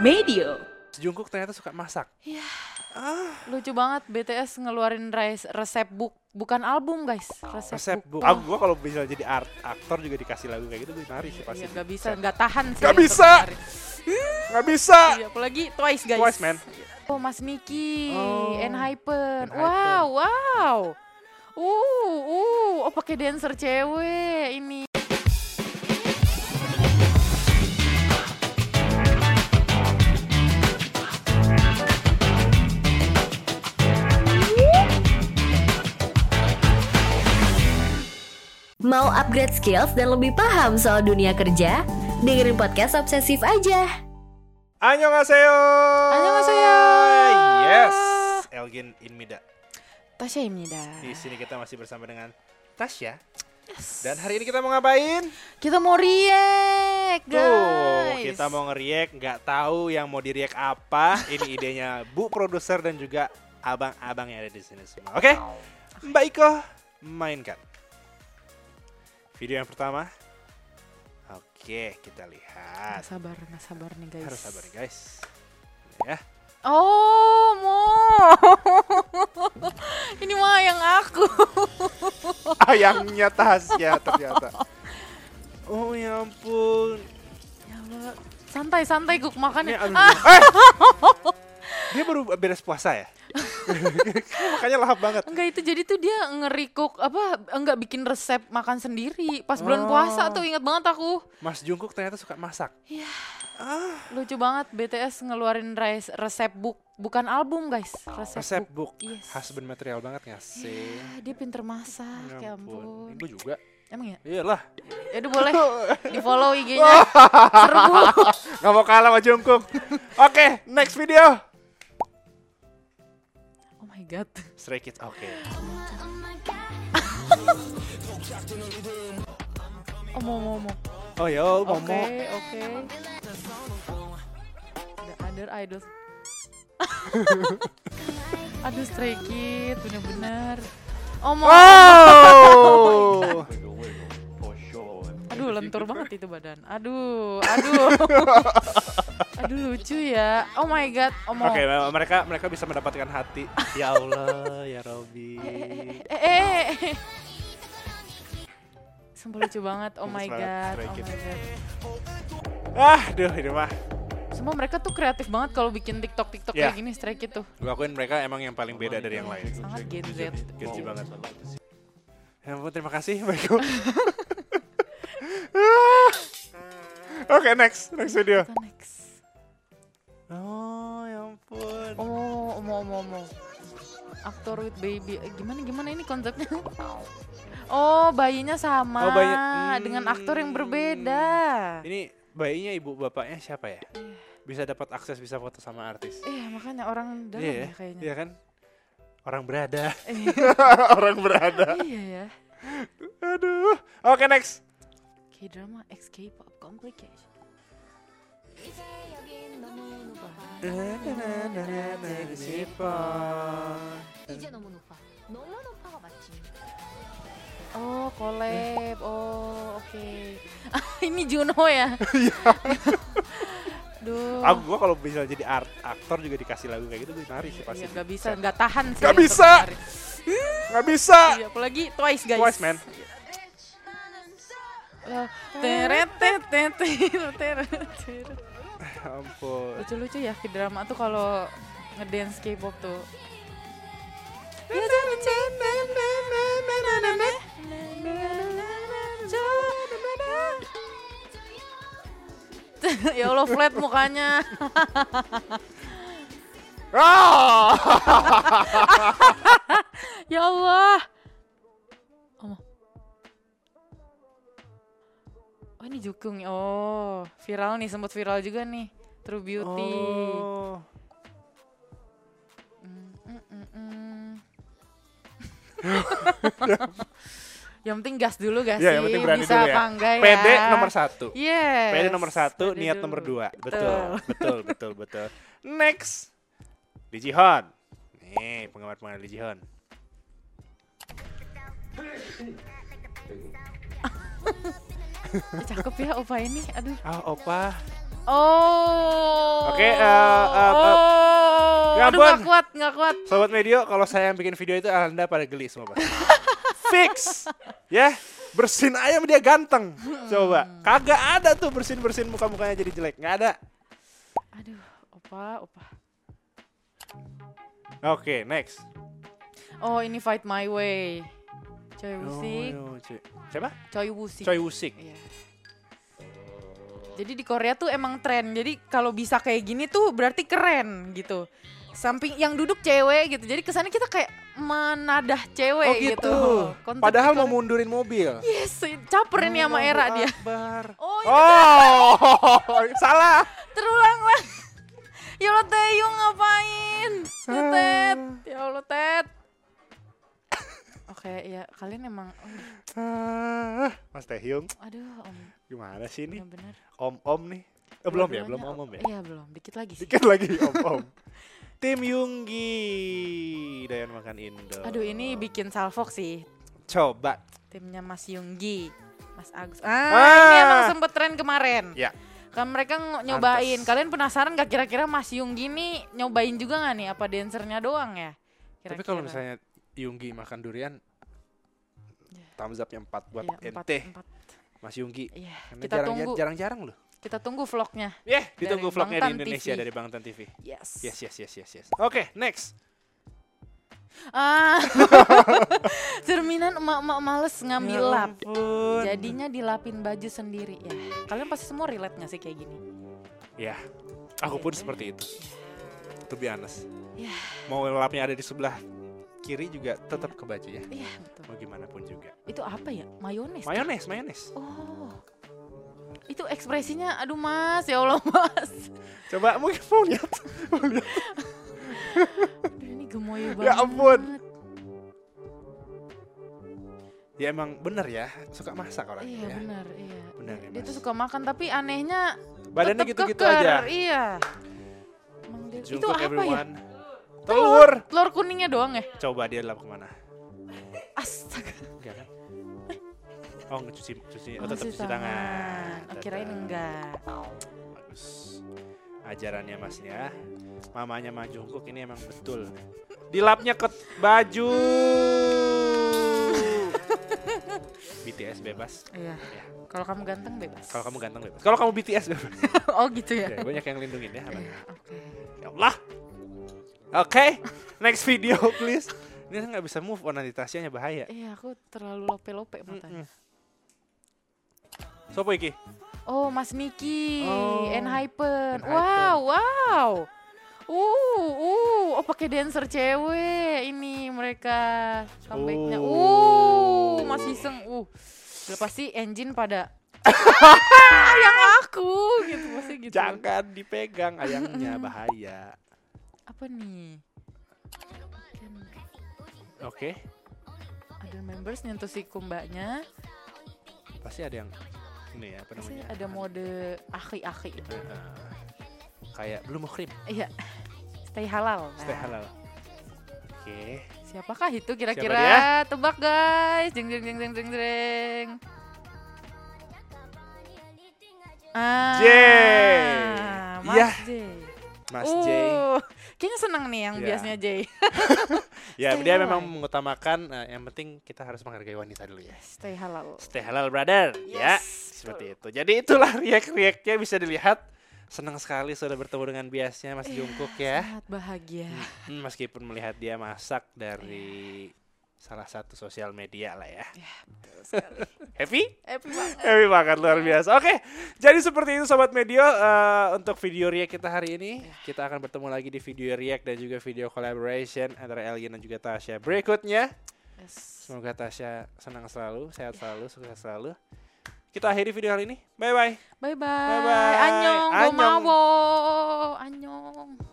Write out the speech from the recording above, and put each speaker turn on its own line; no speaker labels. Medio.
Jungkook ternyata suka masak.
Lucu banget BTS ngeluarin res- resep book bukan album guys, resep,
Ah, Resep
book.
bu. Aku gua kalau bisa jadi art aktor juga dikasih lagu kayak gitu gue nari sih pasti.
Iya, nggak bisa, nggak tahan sih.
Nggak
untuk
bisa.
dengerin.
Nggak bisa.
Iya, apalagi Twice guys.
Twice, man.
Oh, Mas Niki,
Oh,
Enhypen.
Enhypen.
Wow, wow. Uh, uh, oh pakai dancer cewek ini.
Mau upgrade skills dan lebih paham soal dunia kerja? Dengerin podcast Obsesif aja.
Annyeonghaseyo.
Annyeonghaseyo.
Yes. Elgin Inmida.
Tasya Imnida.
Di sini kita masih bersama dengan Tasya. Dan hari ini kita mau ngapain?
Kita mau react, guys.
Tuh, kita mau nge-react, nggak tahu yang mau di-react apa. Ini idenya Bu produser dan juga abang-abang yang ada di sini semua. Oke, Mbak Iko, mainkan. Video yang pertama. Oke, kita
Nggak
lihat.
sabar, nggak sabar nih guys.
Harus sabar guys. Ya,
Oh, mo. ini mah yang aku.
ayangnya Tasya ternyata. Oh ya ampun.
ya Allah. Santai, santai guk
Ini,
makannya.
aduh.
Ah,
Eh! Dia baru beres puasa ya? Makanya lahap banget.
Enggak itu jadi tuh dia ngerikuk apa enggak bikin resep makan sendiri pas
Oh.
bulan puasa tuh ingat banget aku
Mas Jungkook ternyata suka masak.
lucu banget BTS ngeluarin res- resep book bukan album guys resep,
resep
book.
book,
Yes.
husband material banget nggak sih?
Ah, dia pinter masak ya ampun
Gue juga.
emang ya
Iyalah.
ya udah boleh di follow
Oh.
IG-nya serbu
Gak mau kalah sama Jungkook. Oke, next video.
oh my god
Stray Kids, oke.
oh mau mau mau
Oh yo,
oke
Momo.
oke the other idols aduh stray kid bener-bener oh mau
Wow.
Aduh, lentur banget itu badan. Aduh, aduh. aduh lucu ya. Oh my god, omong.
Oke, mereka mereka bisa mendapatkan hati. ya Allah, ya Robi.
Eh, eh, eh. Sumpah lucu banget. Oh my
Bagus banget,
god.
Stray
Oh my
Kids.
god.
Ah, duh ini mah.
Sumpah mereka tuh kreatif banget kalau bikin TikTok TikTok
Iya.
kayak gini Stray Kid tuh.
Gue akuin mereka emang yang paling beda dari yang lain.
Sangat Gen Z.
Gaji banget. Ya ampun, terima kasih Baikku. Oke, next, next video.
Kita next.
Oh, ya ampun.
Oh, omong, omong, omong. Aktor with baby. Eh, Gimana gimana ini konsepnya? Oh, bayinya sama
Oh, bayinya-
dengan
Hmm.
aktor yang berbeda.
Ini bayinya ibu bapaknya siapa ya? Bisa dapat akses bisa foto sama artis.
Iya, makanya orang dalam
Iya ya?
ya kayaknya.
Iya kan? Orang berada.
Iya.
Orang berada.
Iya ya.
Aduh. Oke, next.
K-drama X K-pop complication. Oh,
Iya.
collab. Oh, oke. Ini Juno ya. Duh.
Iya. Aku gua kalau bisa jadi art aktor juga dikasih lagu kayak gitu gue nari sih pasti.
Iya, nggak bisa, nggak tahan sih.
Nggak
untuk
bisa.
dengerin.
Nggak bisa.
Iya, apalagi Twice guys.
Twice, man.
Eh, teret, teret, teret, teret, teret.
Ya ampun.
Lucu-lucu ya K-drama tuh kalau ngedance K-pop tuh. Ya, jangan cek. ya Allah flat mukanya.
Ah!
Ya Allah. Omo. Oh ini Jukung. Oh, viral nih sempat viral juga nih. True Beauty.
Oh.
Mm, mm, mm, mm. yang penting gas dulu gak sih?
Ya, yang penting berani
Bisa
dulu ya.
apa enggak ya?
PD nomor satu.
Yes.
PD nomor satu,
PD
niat
dulu.
nomor dua. Betul, betul, betul, betul. Next, Lee Ji Hoon. Nih, penggemar-penggemar Lee Ji Hoon.
Eh, Cakep ya opa ini. Aduh.
Ah, opa.
Oh.
Oke, eh, eh, eh,
oh. Aduh,
Gabon.
nggak kuat, nggak kuat.
Sobat Medio, kalau saya yang bikin video itu Anda pada geli semua, Pak. Fix. Ya, bersin ayam dia ganteng. Coba. Kagak ada tuh bersin-bersin muka-mukanya jadi jelek. Nggak ada.
Aduh, opa, opa.
Oke, next.
Oh, ini Fight My Way. Choi Wusik,
Oh, no, Ci- Siapa?
Choi Wusik.
Choi Wusik.
Iya. Jadi di Korea tuh emang tren. Jadi kalau bisa kayak gini tuh berarti keren gitu. Samping yang duduk cewek gitu. Jadi kesannya kita kayak menadah cewek
Oh
gitu. Iya.
gitu.
Konsep
Padahal
di
mau Hmm,
Korea.
mundurin mobil.
Yes, caper
ya,
ini sama era
Allahu
dia.
Akbar.
Oh, iya,
Oh, salah.
terulang lah. Ya Allah Taeyong ngapain?
Ah.
Ya Ted, ya Allah Ted. Oke, ya kalian emang aduh,
Ah, Mas Taehyung,
aduh om
gimana sih ini?
bener-bener.
Om-om nih. Eh, belum ya,
Dua-duanya
belum om-om ya.
Iya, belum. Dikit lagi sih.
Dikit lagi om-om. Tim Yunggi Dayan makan Indo.
Aduh, ini bikin salfok sih.
Coba.
Timnya Mas Yunggi, Mas Agus. Ah,
Ah.
ini emang sempet tren kemarin.
Ya.
Kan mereka ng- nyobain. Kalian penasaran gak kira-kira Mas Yunggi nih nyobain juga gak nih? Apa dancernya doang ya?
Tapi
Kira-kira.
kalau misalnya Yunggi makan durian, thumbs up yang 4 buat
Iya, empat,
ente,
Ya. empat.
Mas Yunggi.
Iya,
Karena
kita
jarang,
tunggu.
jarang-jarang loh.
Kita tunggu vlognya.
Ya, ditunggu
Dari
vlognya
Bangtan
di Indonesia
TV.
dari Bangtan TV.
Yes.
Yes, yes, yes, yes, yes. Oke, next.
Ah. Cerminan emak-emak males ngambil lap.
Ya ampun.
Jadinya dilapin baju sendiri ya. Kalian pasti semua relate gak sih kayak gini?
Ya, aku pun seperti itu. To be honest.
Ya.
Mau lapnya ada di sebelah kiri juga tetap kebaca ya.
Iya, betul.
Mau gimana pun juga.
Itu apa ya? Mayones. kah?
Mayones, mayones.
Oh. Itu ekspresinya aduh Mas, ya Allah Mas.
Coba mungkin mau lihat. Mau lihat.
Aduh, ini gemoy banget.
Ya ampun. Ya emang bener ya, suka masak orang
Iya,
ya.
benar, iya.
Benar ya,
Dia
Mas.
tuh suka makan tapi anehnya
Badannya
tetep
gitu-gitu
keker,
aja.
Iya. Emang dia- itu
Jungkook
apa ya?
everyone. Telur.
Telur kuningnya doang ya?
Coba dia lap kemana?
Astaga.
Enggak kan? Oh, nggak cuci cuci, oh,
Eh. Oh,
tetap cuci tangan.
Oh, kirain
Tetep.
enggak.
Bagus. Ajarannya Mas ya. Mamanya Mas Jungkook ini emang betul. Dilapnya ke baju. BTS bebas.
Iya.
Ya.
Kalau kamu ganteng bebas.
Kalau kamu ganteng bebas. Kalau kamu BTS bebas.
oh gitu ya.
ya, banyak yang lindungin ya. abang.
Iya, Oke.
Ya Allah. Oke, next video please. Ini nggak bisa move on nanti Tasya-nya bahaya.
Iya, aku terlalu lope-lope matanya.
Mm-mm. Sopo iki?
Oh, Mas Niki,
Oh,
Enhypen.
Enhypen.
Wow, wow. Uh, uh, oh pakai dancer cewek ini mereka comebacknya.
Oh.
Uh, Mas Iseng. Uh, udah pasti engine pada "Ah, yang aku gitu pasti gitu.
Jangan dipegang ayamnya bahaya.
Apa nih? Dan
Oke,
Kan ada members nyentuh siku mbaknya.
pasti ada yang ini ya apa
Pasti
namanya?
ada mode akhi-akhi itu.
Heeh. Eh, kayak belum muhrim,
Iya. Stay halal.
stay
Nah,
halal. Oke.
Siapakah itu
dia?
kira-kira? Tebak guys. Jeng jeng jeng jeng jeng jeng. Ah,
J.
Mas
Iya.
J.
Mas
Uh,
J.
Kayaknya seneng nih yang
Iya.
biasanya J.
Ya,
stay
dia memang
halal.
mengutamakan eh, yang penting kita harus menghargai wanita dulu ya.
Stay halal.
Stay halal brother ya
Yes,
seperti itu. Jadi itulah react-reactnya bisa dilihat. Senang sekali sudah bertemu dengan biasnya Mas
Iya,
Jungkook ya.
Sangat bahagia.
Hmm, Meskipun melihat dia masak
Iya.
dari salah satu sosial media lah ya. Happy?
Happy banget.
Happy banget luar biasa. Oke, jadi seperti itu sobat Medio eh, untuk video react kita hari ini. Kita akan bertemu lagi di video react dan juga video collaboration antara Elgin dan juga Tasya. Berikutnya,
Yes.
semoga Tasya senang selalu, sehat selalu, sukses selalu. Kita akhiri video hari ini. Bye bye.
Bye bye.
Bye-bye.
Annyeong,
Annyeong.
gomawo. Annyeong.